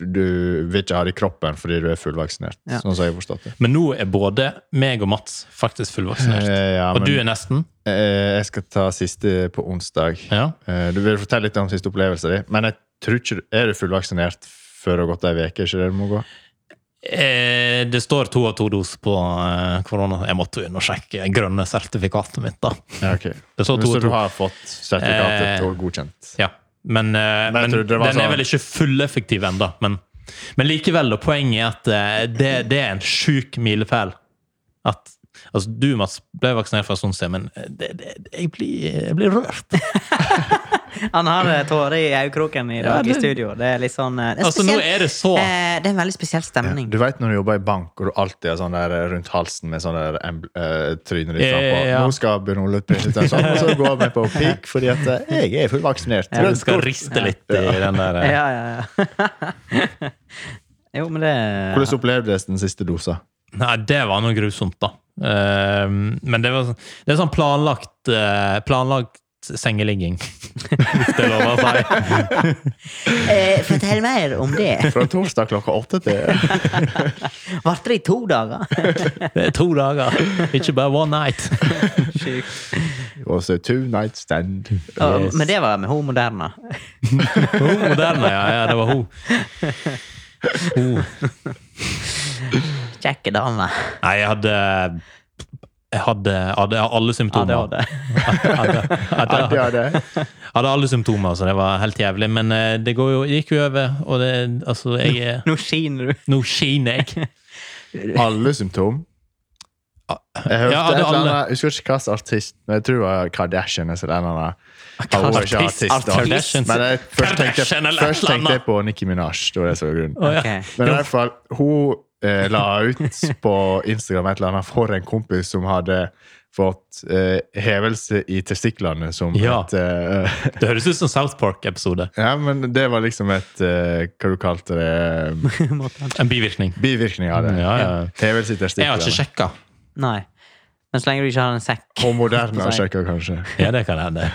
B: du vil ikke ha det i kroppen fordi du er fullvaksinert.
A: Ja.
B: Sånn som jeg har forstått det.
C: men nå er både meg og Mats faktisk fullvaksinert.
B: Eh, ja,
C: Og
B: men,
C: du er nesten.
B: eh, jeg skal ta siste på onsdag.
C: Ja.
B: Eh, du vil fortelle litt om siste opplevelse di, men jeg tror ikke du er du fullvaksinert før det har gått ei uke. Ikke det du må gå?
C: Eh, det står to av to doser på eh, korona. Jeg måtte jo inn og sjekke grønne sertifikatet mitt, da.
B: Ja, ok.
C: Det står to
B: Hvis
C: av
B: du
C: to.
B: har fått sertifikatet
C: Eh,
B: og godkjent.
C: Ja. Men, eh,
B: Men jeg
C: men
B: trodde det var
C: den
B: sånn-
C: er vel ikke fulleffektiv ennå. Men, men likevel, og poenget er at eh, det, det er en sjuk milepæl. At Altså, du, Mats, ble vaksinert for en stund siden, men eh, det, det, jeg, blir, jeg blir rørt.
A: Han har eh, tårer i øyekroken i dag
C: Ja, det-
A: i studio. Det er litt sånn eh, det er,
C: Altså, nå
A: spesielt-
C: er det så
A: eh, det er en veldig spesiell stemning.
B: Du veit når du jobber i bank og du alltid har sånn der rundt halsen med sånn der embl- eh, trynet ditt
C: Ja, ja,
B: frampå.
C: ja.
B: Nå skal Bjørn Ole printe ut en sånn, og så går vi på peak fordi at eh, jeg er fullvaksinert.
C: Du skal riste litt i den der eh,
A: Ja, ja, ja. jo, men det
B: Hvordan opplevdes den siste dosa?
C: Nei, det var noe grusomt, da. Eh, men det, var, sånn- det er sånn planlagt, eh, planlagt sengeligging, hvis det er lov å si.
A: Eh, fortell mer om det.
B: Fra torsdag klokka åtte til
A: Varte det i to dager?
C: Det er to dager, ikke bare one night.
A: Sjukt.
B: It was a two night stand.
A: Og-
C: Yes.
A: Men det var med hun moderne.
C: Hun moderne, ja. ja det var hun. hun.
A: Kjekke dame.
C: Nei, jeg hadde jeg hadde, hadde alle symptomer.
A: ADHD.
C: Hadde-
B: Ja,
C: hadde-
B: det er det.
C: hadde alle symptomer, så det var helt jævlig. Men eh, det går jo, gikk jo over, og det Altså, jeg er
A: Nå skiner du.
C: Nå skiner jeg!
B: Alle symptom. Jeg hørte
C: Ah. Ja,
B: et
C: hadde
B: eller annet,
C: alle.
B: jeg husker ikke hvilken artist, men jeg tror det var Kardashian. eller noe annet. Han var ikke
C: Artist,
B: artist, da.
C: Kardashian.
B: Men jeg først tenkte,
C: Kardashian eller
B: først
C: et eller
B: tenkte jeg
C: annet.
B: på Nicki Minaj. Det var det som var grunnen.
C: Å, ja.
A: Ok.
B: Men i hvert fall, hun eh, la ut på Instagram et eller annet for en kompis som hadde fått eh, hevelse i testiklene som
C: Ja.
B: et eh,
C: Det høres ut som South Park-episode.
B: Ja, men det var liksom et eh, Hva du kalte det?
C: En bivirkning.
B: Bivirkning av det.
C: Ja, ja.
B: Hevelse i
C: Jeg har ikke
B: testiklene.
C: sjekka.
A: Nei. Men så lenge du ikke har en sekk.
B: Og moderne
A: Nei.
B: sjekker, kanskje.
C: Ja, det kan hende.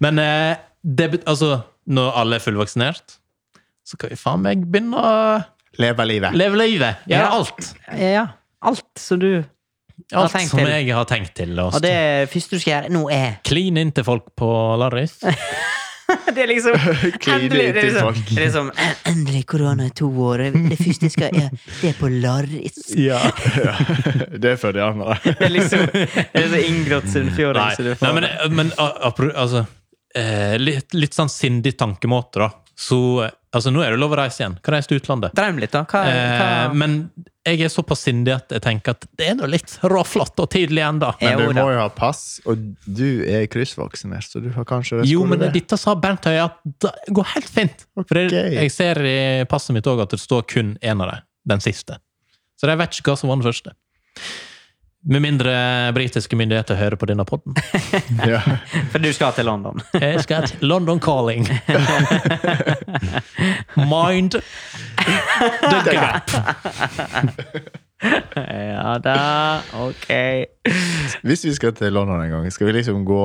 C: Men eh, det, bet- altså, når alle er fullvaksinert, så kan vi faen meg begynne å
B: Leve livet.
C: leve livet. Gjøre
A: Ja.
C: alt.
A: Ja, ja. Alt som du Har
C: Alt
A: tenkt
C: som
A: til.
C: jeg har tenkt til. Og
A: Og det første du skal gjøre nå, er
C: Klin inn til folk på Larris.
A: Det er liksom
B: Kline
A: endelig, det er
B: inntil
A: liksom,
B: folk.
A: det er liksom en- Endelig korona i to år. Det første jeg skal gjøre, det er på Larris.
C: Ja.
B: Ja. Det er for de andre.
A: Det er liksom det er så inngrodd sunnfjording.
C: Nei,
A: så du får-
C: nei men, eh, men a- apro- altså, eh, litt, litt sånn sindig tankemåte, da. Så eh, altså, nå er det lov å reise igjen. Kan reise til utlandet.
A: Drøm litt, da. Hva,
C: Eh,
A: hva?
C: men jeg er såpass sindig at jeg tenker at det er nå litt råflott og tidlig ennå.
B: Men
A: Jo
B: du
A: da.
B: må jo ha pass, og du er kryssvaksinert, så du har kanskje
C: Jo, men
B: det
C: dette sa Bernt Høie at det går helt fint. For det,
B: Ok.
C: jeg ser i passet mitt òg at det står kun én av dem. Den siste. Så jeg vet ikke hva som var den første. Med mindre britiske myndigheter hører på denne podden.
B: Ja.
A: For du skal til London.
C: Jeg skal til London Calling. Mind the gap.
A: ja da, ok.
B: Hvis vi skal til London en gang, skal vi liksom gå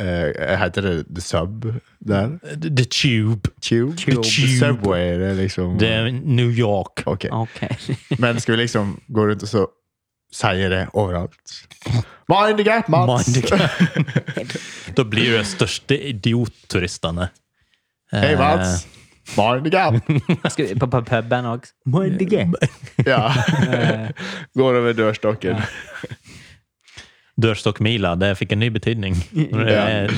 B: eh, Heter det The Sub der?
C: The tube.
B: Tube?
C: Tube.
B: Subway, det er liksom
C: Det er New York.
B: Ok.
A: Ok.
B: Men skal vi liksom gå rundt og så si det overalt? Mind the gap, Mats!
C: Mind the Da blir jo de største idiotturistene. Eh,
B: Hei, Mats! Mind the gap!
A: Skal vi på, på puben òg?
B: Ja. Går over dørstokken.
C: Dørstokkmila, det fikk en ny betydning. Når det er-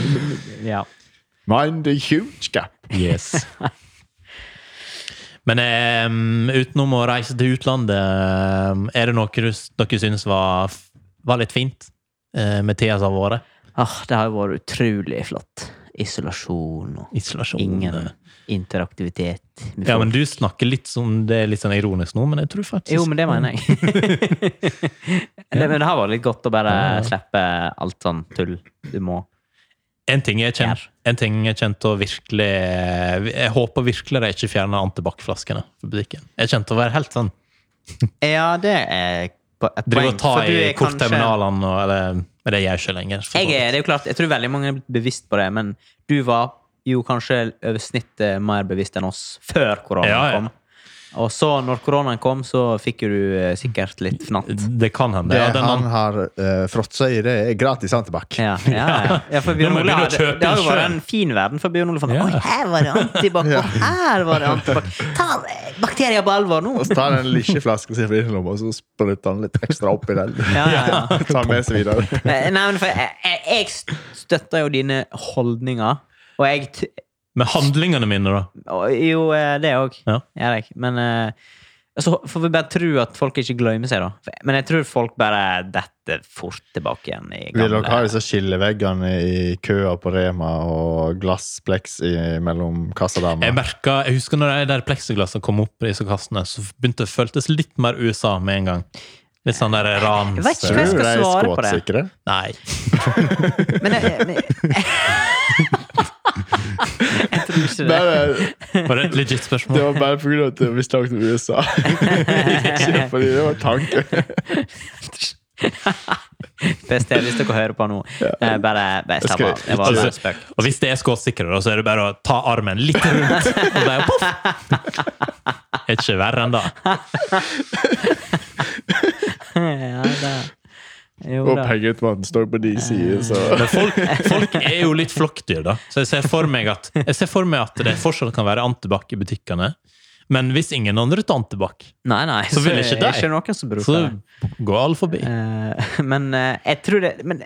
A: Ja.
B: Mind the huge gap!
C: Yes. Men em, utenom å reise til utlandet, em, er det noe du, dere syns var, var litt fint eh, med tida som har vært?
A: Åh, Ah, det har jo vært utrolig flott. Isolasjon og
C: Isolasjon.
A: ingen interaktivitet. med
C: Ja,
A: folk.
C: men du snakker litt som det er litt sånn ironisk nå, men jeg tror faktisk
A: Jo, men det mener jeg. det, men det har vært litt godt å bare
C: Ja.
A: slippe alt sånn tull. Du må.
C: En ting jeg kjent, en ting jeg kjente å virkelig Jeg håper virkelig de ikke fjerner antibac-flaskene fra butikken. Jeg kjente å være helt sånn
A: Ja, det er på et
C: Drive og ta
A: for du
C: i
A: er kanskje-
C: kortterminalene og eller, Men det gjør jeg ikke lenger. for så
A: Jeg, er,
C: vidt.
A: det er jo klart, jeg tror veldig mange er blitt bevisst på det, men du var jo kanskje over snittet mer bevisst enn oss før koronaen
C: Ja, ja.
A: kom. Og så, når koronaen kom, så fikk jo du eh, sikkert litt fnatt.
C: Det kan hende.
B: Det
C: ja, den
B: han har uh, seg i, det er gratis antibac.
A: Ja, ja, ja. ja for
C: Nå
A: Bjørn
C: må
A: Ole
C: jeg begynne å
A: hadde,
C: kjøpe
A: Det har jo
C: den
A: vært
C: selv.
A: en fin verden for Bjørn Ole. Fant,
C: Ja.
A: Oi, her var det antibac, og her var det antibac. Ta eh, bakterier på alvor nå!
B: Og så tar han en lille flaske sin fra innerlomma og så sprutter han litt ekstra oppi den.
A: Ja, ja, ja.
B: Tar med seg videre.
A: Eh, Nei, men for jeg, jeg- jeg støtter jo dine holdninger, og jeg t
C: Med handlingene mine, da.
A: Og- Jo, eh, det òg.
C: Ja.
A: Gjør jeg. Men eh, så får vi bare tro at folk ikke glemmer seg, da. For- Men jeg tror folk bare detter fort tilbake igjen i
B: Vil dere ha
A: gamle
B: disse skilleveggene i køa på Rema og glasspleks i- mellom
C: Jeg
B: kassadamer?
C: merka, jeg husker når de der pleksiglassene kom opp, i disse kassene, så begynte det føltes litt mer USA med en gang. Litt sånn der rans...
A: Jeg vet ikke
B: Tror
A: hva jeg
B: du
A: skal
B: de er
A: svare på det.
B: skåtsikre?
C: Nei.
A: eh, Men jeg, men jeg, jeg tror Husker du det?
B: Bare,
C: Var det et legit
B: det
C: spørsmål?
B: var bare på grunn av at vi snakket om USA. Ikke fordi det var tanken.
A: Best jeg har lyst til å høre på nå. Eh, Bare, bare slapp
B: Skal-
A: av.
B: Altså-
A: Det var bare en spøk.
C: Og hvis det er skråsikkere, da, så er det bare å ta armen litt rundt, og bare poff! Er ikke verre enn da.
A: Ja, da. Jo
B: Og
A: da.
B: pengeautomaten står på din side, så
C: Men folk, folk er jo litt flokkdyr, da. Så jeg ser for meg at, jeg ser for meg at det fortsatt kan være antibac i butikkene. Men hvis ingen andre tar antibac,
A: Nei, nei.
C: Så vil
A: er
C: ikke
A: det
C: de.
A: ikke noen som bruker
C: så
A: det.
C: går alle forbi.
A: Eh, men eh, jeg tror det men,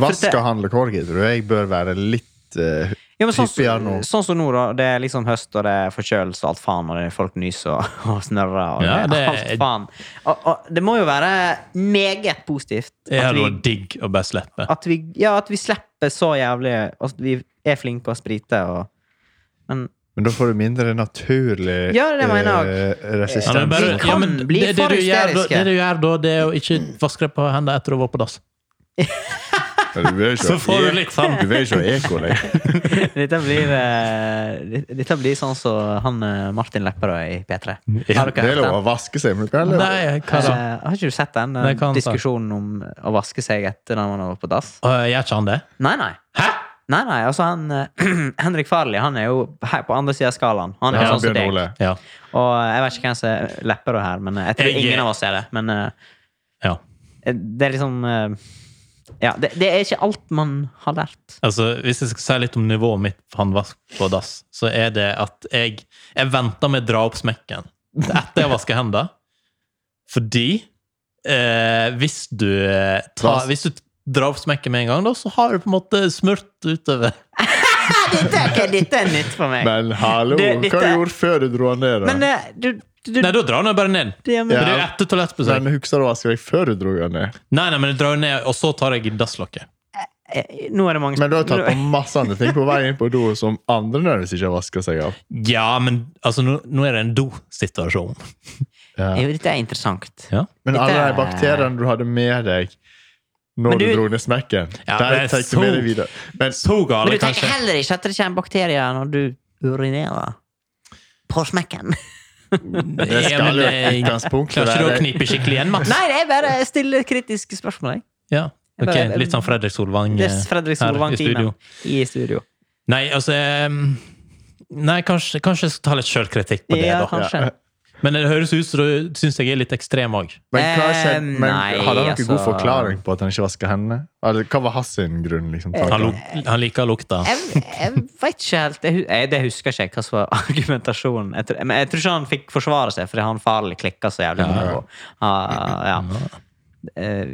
B: Vask og handle korgi, tror jeg bør være litt eh,
A: ja, men sånn,
B: Hyppigere nå.
A: sånn som nå, da. Det er liksom høst, og det er forkjølelse og alt faen, og det er folk nyser og, og snørrer og
C: Ja,
A: det, er
C: det
A: alt
C: er-
A: faen. Og, og det må jo være meget positivt
C: Det
A: at
C: hadde
A: vi,
C: vært digg å bare slippe.
A: at vi, ja, at vi slipper så jævlig At vi er flinke på å sprite og Men
B: Men da får du mindre naturlig
A: Ja, det mener
B: eh,
C: Ja, men
B: resistens.
A: Vi kan bli
C: det, det,
A: for
C: du gjør, da,
A: hysteriske.
C: det du gjør da, det er å ikke vaske deg på hendene etter å ha vært på dass.
B: Men du vil ikke
C: Så
B: ha
C: får
B: e-
C: du litt sånn
B: Du vil ikke ha eko lenger.
A: dette blir, eh, dette blir sånn som han eh, Martin Lepperød i P3.
C: Ja,
A: Har dere
B: Det er
A: hørt
B: lov
A: den?
B: å vaske seg, men du kan heller-
C: Nei, hva da?
A: Eh, har ikke du sett den?
C: Nei,
A: den
C: hva han sa?
A: diskusjonen om å vaske seg etter når man har vært på dass?
C: Øh, Gjør ikke han det?
A: Nei, nei.
C: Hæ?
A: Nei, nei, altså han eh, Henrik Farley han er jo her på andre sida av skalaen. Han er
B: Ja,
A: jo sånn som
B: Bjørn
A: deg.
B: Ole.
C: Ja.
A: Og jeg vet ikke hvem som er Lepperød her, men eh, jeg tror
C: Jeg-
A: ingen av oss er det. Men eh,
C: ja.
A: det er liksom eh, Ja, det, det er ikke alt man har lært.
C: Altså, hvis jeg skal si litt om nivået mitt på håndvask på dass, så er det at jeg, jeg venter med å dra opp smekken til etter jeg vasker hendene. Fordi eh, hvis, du eh, tar, hvis du drar opp smekken med en gang, da, så har du på en måte smurt utover.
A: Dette, er- dette er nytt for meg.
B: Men hallo,
A: Det-
B: hva
A: dette-
B: du gjorde før du dro den ned? da?
A: Men eh, du, du, du
C: Nei, da drar du den bare ned.
A: det, men,
C: Men Det er jo
B: Ja.
C: etter toalettbesøk.
B: Men husker du å vaske deg før du dro den ned?
C: Nei, nei, men jeg drar den ned, og så tar jeg i dasslokket.
A: eh, Nå er det mange
B: Men du har tatt på
A: Nå-
B: masse andre ting på vei inn på do som andre nødvendigvis ikke har vaska seg av.
C: Ja, men altså, nå, nå er det en do-situasjon.
B: Ja.
A: Jo, dette er interessant.
C: Ja.
B: Men alle
A: Dette
B: de
A: er-
B: bakteriene du hadde med deg når
A: Men
B: du,
A: du-
B: dro ned smekken,
C: Ja,
B: de
C: det er
B: tar du med
C: så-
B: deg videre. Men
C: Så
A: Men
C: gale,
A: du tenker
C: kanskje.
A: heller ikke at det kommer bakterier når du urinerer på smekken?
B: det
C: Ja, men
B: skal jo i
C: jeg-
B: utgangspunktet
C: Klarer ikke du å
B: være
C: knipe skikkelig igjen, Mats?
A: Nei, det er bare stille kritiske spørsmål. Jeg.
C: Ja,
A: Jeg
C: ok.
A: bare-
C: Litt sånn Fredrik Solvang
A: Det er
C: eh,
A: Fredrik
C: her i
A: Solvang-timen
C: studio.
A: i studio.
C: Nei, altså em, Nei, kanskje, kanskje jeg skal ta litt sjølkritikk på det,
A: Ja,
C: da.
A: kanskje.
C: Men det høres ut som du syns jeg er litt ekstrem òg.
B: Men, hva skjedde,
A: Eh,
B: men
A: nei,
B: hadde han noen god
A: altså-
B: forklaring på at han ikke vaska hendene? Eller hva var hans sin grunn? liksom? til at
C: Han,
B: han-
C: luk- han liker lukta.
A: Jeg, jeg veit ikke helt jeg, hu- jeg, Det husker ikke jeg hva som var argumentasjonen. Jeg, tror- men jeg tror ikke han fikk forsvare seg fordi han farlig klikka så jævlig mye. på. Ah, ja. Eh,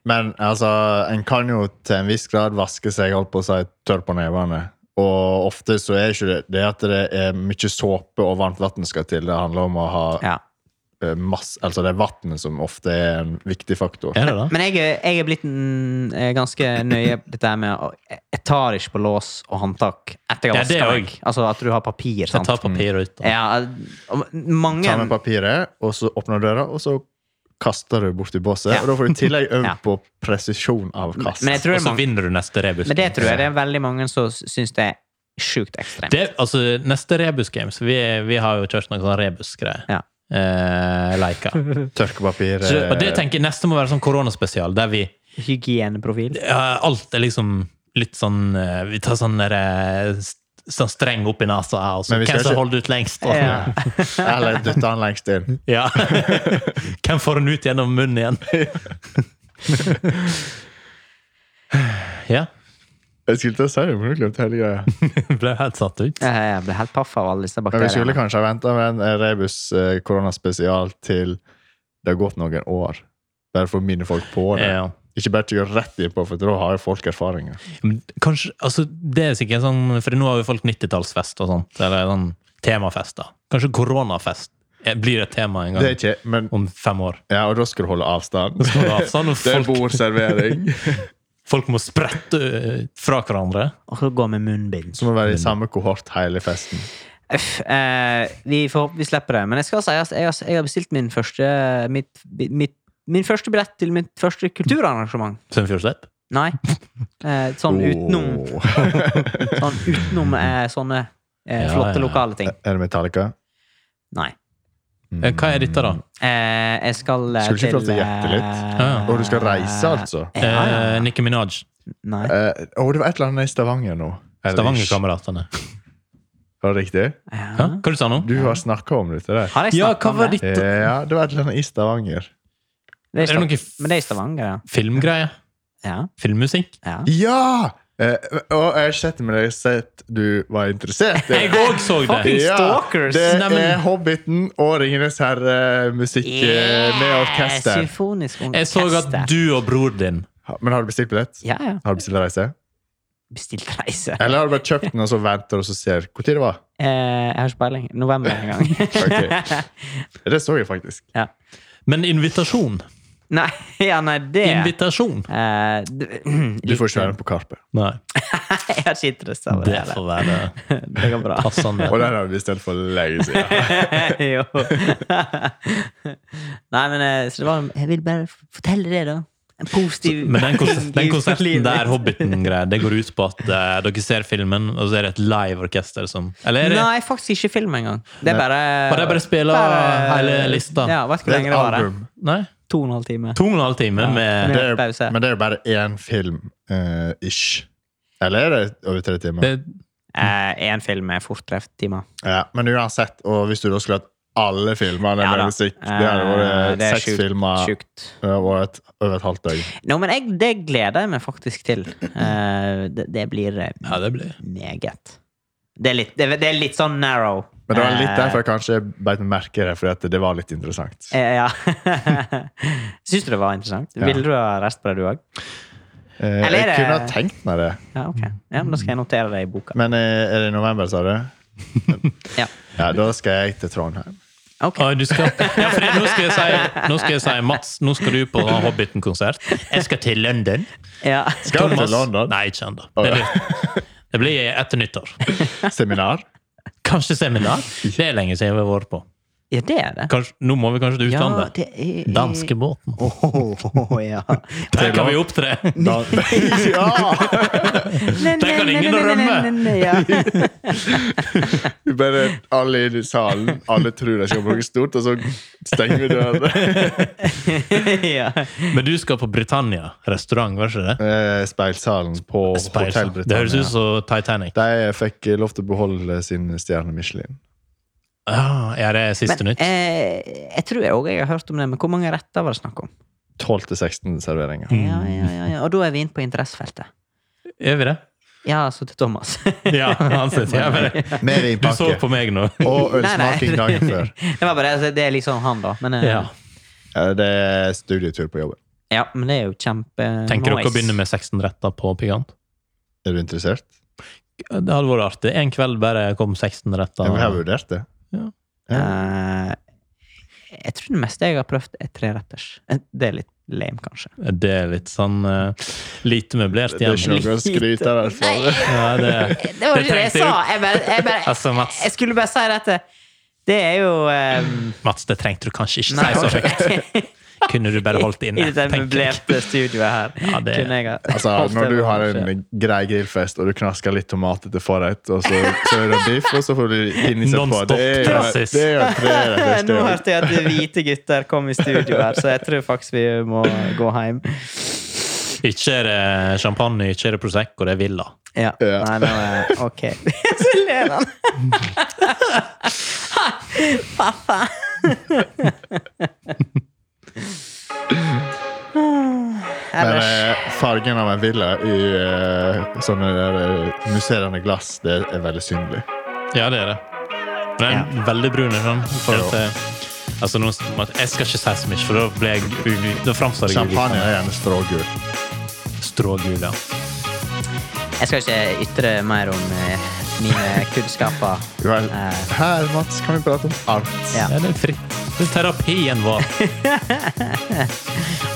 B: Men altså, en kan jo til en viss grad vaske seg holdt på å si, tørr på nevene. Og ofte så er ikke det det at det er mye såpe og varmt vann skal til. Det handler om å ha
A: ja.
B: eh, masse Altså det er vannet som ofte er en viktig faktor.
C: Er det da?
A: Men jeg, er- jeg er blitt mm, eh, ganske nøye på dette her med å- Jeg jeg tar ikke på lås og håndtak etter jeg har
C: Ja, det
A: vaska
C: òg.
A: meg. Altså at du har papir,
C: Jeg
A: sant?
C: tar papir ut. Da.
A: Ja, og mange
B: Ta med papiret, og så åpner du døra, og så kaster du borti bosset.
A: Ja.
B: Og da får du i tillegg øvd
A: Ja.
B: på presisjon av kast.
A: Men jeg tror
C: Og
A: det er
C: så
A: mange
C: vinner du neste rebus.
A: Men det tror jeg det er veldig mange som syns det er sjukt ekstremt.
C: Det, altså, neste rebus games vi, vi har jo kjørt noen sånn rebus-greier.
A: Ja.
C: Eh, leker.
B: Tørkepapir
C: Så, og det
B: eh,
C: tenker jeg neste må være sånn koronaspesial, der vi
A: Hygieneprofil.
C: ja, Alt er liksom litt sånn eh, Vi tar sånn der, eh, st- sånn streng opp i nesa, og så
B: Men vi skal
C: hvem som
B: ikke-
C: holder ut lengst? Og,
A: Ja.
B: eh, Eller dytte den lengst inn.
C: ja. hvem får den ut gjennom munnen igjen? ja.
B: Jeg skulle til å si det, men du glemte hele greia.
C: Ble helt satt ut.
A: Eh, Jeg ble helt paff av alle disse
B: Men vi skulle
A: bakteriene.
B: kanskje ha venta med en rebus eh, koronaspesial til det har gått noen år. Bare for å minne folk på det.
C: Ja.
B: Ikke bare til å gå rett innpå, for da har jo folk erfaringer.
C: Men Kanskje, altså det er sikkert sånn For nå har jo folk 90-tallsfest og sånt Eller sånn temafest da Kanskje koronafest eh, blir et tema en gang
B: Det er ikke, men,
C: Om fem år
B: ja, og da skal du holde avstand.
C: Skal du ha sånn, og
B: Det er
C: folk,
B: bordservering.
C: folk må sprette eh, fra hverandre
A: Og så gå med munnbind.
B: Så må du være i samme kohort hele festen.
A: Uff, eh, vi, får, håpe vi slipper det. Men jeg skal si at jeg, har- jeg har bestilt min første, mitt, mitt, min første billett til mitt første kulturarrangement.
C: Sønnfjordstepp
A: Nei. Eh, sånn
B: Oh.
A: utenom,
B: Åh.
A: sånn, utenom eh, sånne eh,
C: Ja,
A: flotte
C: ja.
A: lokale ting.
B: Er det Metallica?
A: Nei. Mm.
C: Eh, Hva er dette, da?
A: Eh, jeg skal eh,
B: Skulle ikke få lov til å
A: eh,
B: gjette litt?
C: Ja.
B: Og du skal reise, altså?
A: Ja, ja.
C: Eh, Nicki Minaj.
A: Nei.
C: Ah.
B: Eh, å, det var et eller annet i Stavanger nå. Eller-
C: Stavangerkameratene.
B: Var det riktig?
C: Hæ?
A: Ja.
C: Hva du sa du nå?
B: Du har snakka om dette der.
A: Har jeg
C: Ja,
A: snakket
C: hva
A: om
C: var
A: det?
C: ditt
B: Eh, Ja, det var et eller annet i Stavanger.
A: Det
C: Er
A: er
C: det
A: noe...
C: noe
A: Men det er i Stavanger, ja.
C: filmgreie?
A: ja.
C: Filmmusikk?
A: ja.
B: Ja! Eh, og jeg har sett med deg sett du var interessert.
C: Jeg òg så det!
A: Fucking stalkers!
B: det
C: Nei, men-
B: er Hobbiten og Ringenes herre-musikk eh, med orkester.
A: Symfonisk orkester.
C: Jeg så at du og bror din
B: Ha- Men har du bestilt billett?
A: Ja, ja.
B: Har du bestilt reise?
A: Bestilt reise.
B: Eller har du bare kjøpt den og så venter og så ser hvor tid det var?
A: Eh, jeg har ikke peiling. November en gang.
B: Det så jeg faktisk.
C: Men invitasjon!
A: nei, ja, nei, det
C: Invitasjon!
A: eh, du,
B: Du får ikke være med på Karpe.
C: Nei,
A: Jeg har ikke interesse av det.
C: det
A: heller.
C: får være
A: Det går bra.
C: passende.
B: Og den har vi bestilt for lenge siden.
A: jo. nei, men eh, så det var Jeg vil bare fortelle det, da. En positiv
C: Men den, kons den
A: ting i livet
C: konserten der,
A: mitt.
C: Hobbiten-greia, det går ut på at eh, dere ser filmen, og så er det et live orkester som Eller er det,
A: Nei, faktisk ikke film engang. Det er
B: Nei.
A: bare
C: Og de bare spiller hele lista.
A: Ja, Vet du hvor
B: Det er
A: lenge
B: et
A: det varer?
B: album.
C: Nei?
A: To og en halv time.
C: To og en halv time
A: Ja.
C: med
B: Det er,
A: Pause.
B: men det er jo bare én film eh, ish. Eller er det over tre timer?
C: det,
A: Én film er fort tre timer.
B: Ja, men uansett, og hvis du da skulle hatt alle filmene
A: Ja
B: med
A: da.
B: musikk Det hadde
A: Eh,
B: vært
A: det er
B: seks
A: sjukt,
B: filmer
A: Sjukt.
B: det hadde vært over et halvt døgn.
A: Nå, men jeg, det gleder jeg meg faktisk til. Eh, det, det blir eh,
C: Ja, det blir
A: meget. Det er litt, det, er- det er litt sånn narrow.
B: Men det var litt
A: Eh,
B: derfor jeg kanskje beit meg merke i det, fordi at det var litt interessant.
A: eh, ja. Syns du det var interessant?
B: Ja.
A: Ville du ha rest på det, du òg?
B: Eh,
A: eller er
B: jeg
A: det-
B: kunne ha tenkt meg det,
A: Ja, ok. Ja, men da skal jeg notere det i boka.
B: men eh, er det i november, sa du?
A: Ja.
B: Ja, da skal jeg til Trondheim.
A: Ok.
C: Oi, du skal, ja, for nå, skal jeg si, nå skal jeg si Mats, nå skal du på Hobbiten-konsert. Jeg skal til London.
A: Ja.
B: Skal du til London?
C: Nei, ikke ennå. Det, blir- det blir etter nyttår.
B: Seminar?
C: Kanskje seminar? Det er lenge siden vi har vært på.
A: ja, det er det.
C: Kanskje, nå må vi kanskje til
A: Ja,
C: utlandet.
A: det er
C: Danskebåten.
A: Åh, ja.
C: Der kan vi opptre!
B: Da, ja!
A: Den
C: kan ingen rømme.
A: Ja.
B: Bare alle i salen, alle tror de skal bruke stort, og så stenger vi dørene.
A: ja.
C: Men du skal på Britannia restaurant, var ikke det?
B: Eh, Speilsalen på Hotell
C: Speilsand. Det høres ut
B: Britannia.
C: som Titanic.
B: De fikk lov til å beholde sin stjerne Michelin.
C: Ah, ja, det er siste
A: Men
C: nytt.
A: eh, jeg tror jeg òg har hørt om det, men hvor mange retter var det snakk om?
B: 12-16 serveringer.
C: Mm.
A: Ja, ja, ja, ja. Og da er vi inne på interessefeltet.
C: Gjør vi det?
A: Ja, så til Thomas.
C: Ja, han sier ja, men det.
B: Med i
C: Du så på
B: pakke.
C: meg nå.
B: Og
A: Nei, nei.
B: ølsmaking dagen før.
A: Det var bare, altså, det er liksom han, da. Men, eh,
C: Ja.
B: Ja, Det er studietur på jobben.
A: ja, men det er jo kjempe
C: Tenker dere å
A: nice.
C: begynne med 16 retter på Pigant?
B: Er du interessert?
C: Det hadde vært artig. En kveld bare kom 16 retter.
B: Jeg har vurdert det.
C: Ja.
B: Ja.
A: Eh, Jeg tror det meste jeg har prøvd, er treretters. Det er litt lame, kanskje.
C: Det er litt sånn eh, lite møblert
B: Det er
C: igjen.
B: ikke noe å skryte av, i hvert fall.
C: Ja, det,
A: Det var ikke det jeg
C: trengte
A: sa!
C: du-
A: Jeg, bare, jeg, bare,
C: Altså, Mats,
A: jeg skulle bare si dette. Det er jo eh,
C: Mats, det trengte du kanskje ikke
A: nei,
C: si så høyt. Kunne du bare holdt det
A: I
C: inne?
A: dette
C: tenker jeg.
A: møblerte studioet her.
C: Ja, det-
A: kunne jeg ha
B: Altså,
A: holdt
B: når
A: det
B: du
A: på
B: har
A: skjerm.
B: en grei grillfest, og du knasker litt tomater til forrett, og så, så er det biff, og så får du pinne seg på
C: Non-stop
B: Det er jo
C: klassisk.
B: det er jo en treretters, det
A: Nå
B: er jo-
A: hørte jeg at hvite gutter kom i studio her, så jeg tror faktisk vi må gå hjem.
C: Ikke er det champagne, ikke er det Prosecco, det er Villa.
A: Ja.
B: Ja.
A: Nei, nå er Ok. Så ler han. Pappa.
B: Men
A: Ellers
B: eh, fargen av en villa i eh, sånne der, eh, musserende glass, det er veldig synlig.
C: Ja, det er det. Den er veldig brun. ikke sant? I forhold til, altså, nå, jeg skal ikke si så mye, for da blir jeg u- Da framstår jeg
B: Champagne er gjerne strågul.
C: litt strågul. Ja.
A: Jeg skal ikke ytre mer om eh, mine kunnskaper.
B: Du er-
A: Eh,
B: Her, Mats, kan vi prate om alt.
A: ja.
C: Ja, det er fritt. Det er terapien vår.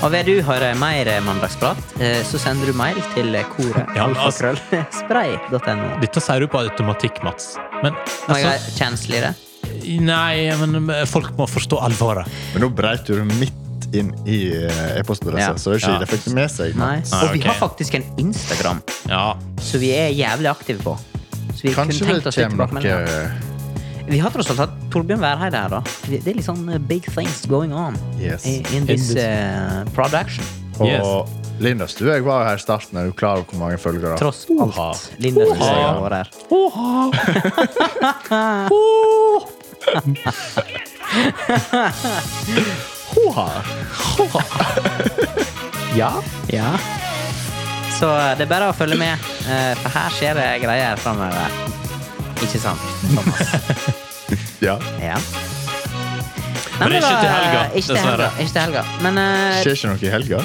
A: Og vil du høre mer mandagsprat, eh, så sender du mail til koret.
C: Ja, altså,
A: Spray.no.
C: dette sier du på automatikk, Mats. Men
A: Må jeg
C: altså,
A: være kjensligere?
C: Nei, men eh, folk må forstå alvoret.
B: Men nå breit du det midt inn i eh,
A: Ja.
B: e-postadressen, så det er ikke
C: Ja.
B: de fikk det med seg.
A: Nei.
B: Mats.
A: Og vi
C: ok.
A: har faktisk en Instagram
C: Ja.
A: som vi er jævlig aktive på. Så vi kunne
B: Kanskje det
A: tenkt oss litt
B: kommer noe
A: tilbakemeldinger. Vi har tross alt hatt Torbjørn Værheide her, da. Det det er litt sånn uh, big things going on
B: Yes.
A: i- in this
C: In this-
A: uh, production.
B: eh, Og
C: Yes.
B: Linda Stue, jeg var jo her i starten. Er du klar over hvor mange følgere?
A: Tross
C: Oha.
A: alt. Linda syns jeg har vært her.
B: Hoha!
C: ja.
A: Ja. Så eh, det er bare å følge med, eh, for her skjer det greier framover. Ikke sant, Thomas?
B: Ja.
A: Ja.
C: Men det er ikke til helga,
A: ikke til helga,
C: dessverre.
A: Ikke til helga. Men eh,
B: Skjer ikke noe i helga?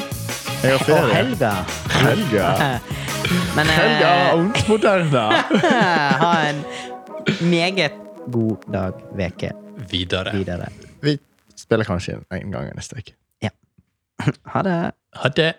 B: Jeg har
A: og
B: ferie.
A: helga
B: Helga.
A: Men eh,
B: Helga er ungt moderne.
A: ha en meget god dag, veke
C: Videre.
A: videre.
B: Vi spiller kanskje en gang neste uke.
A: Ja. Ha det.
C: Ha det.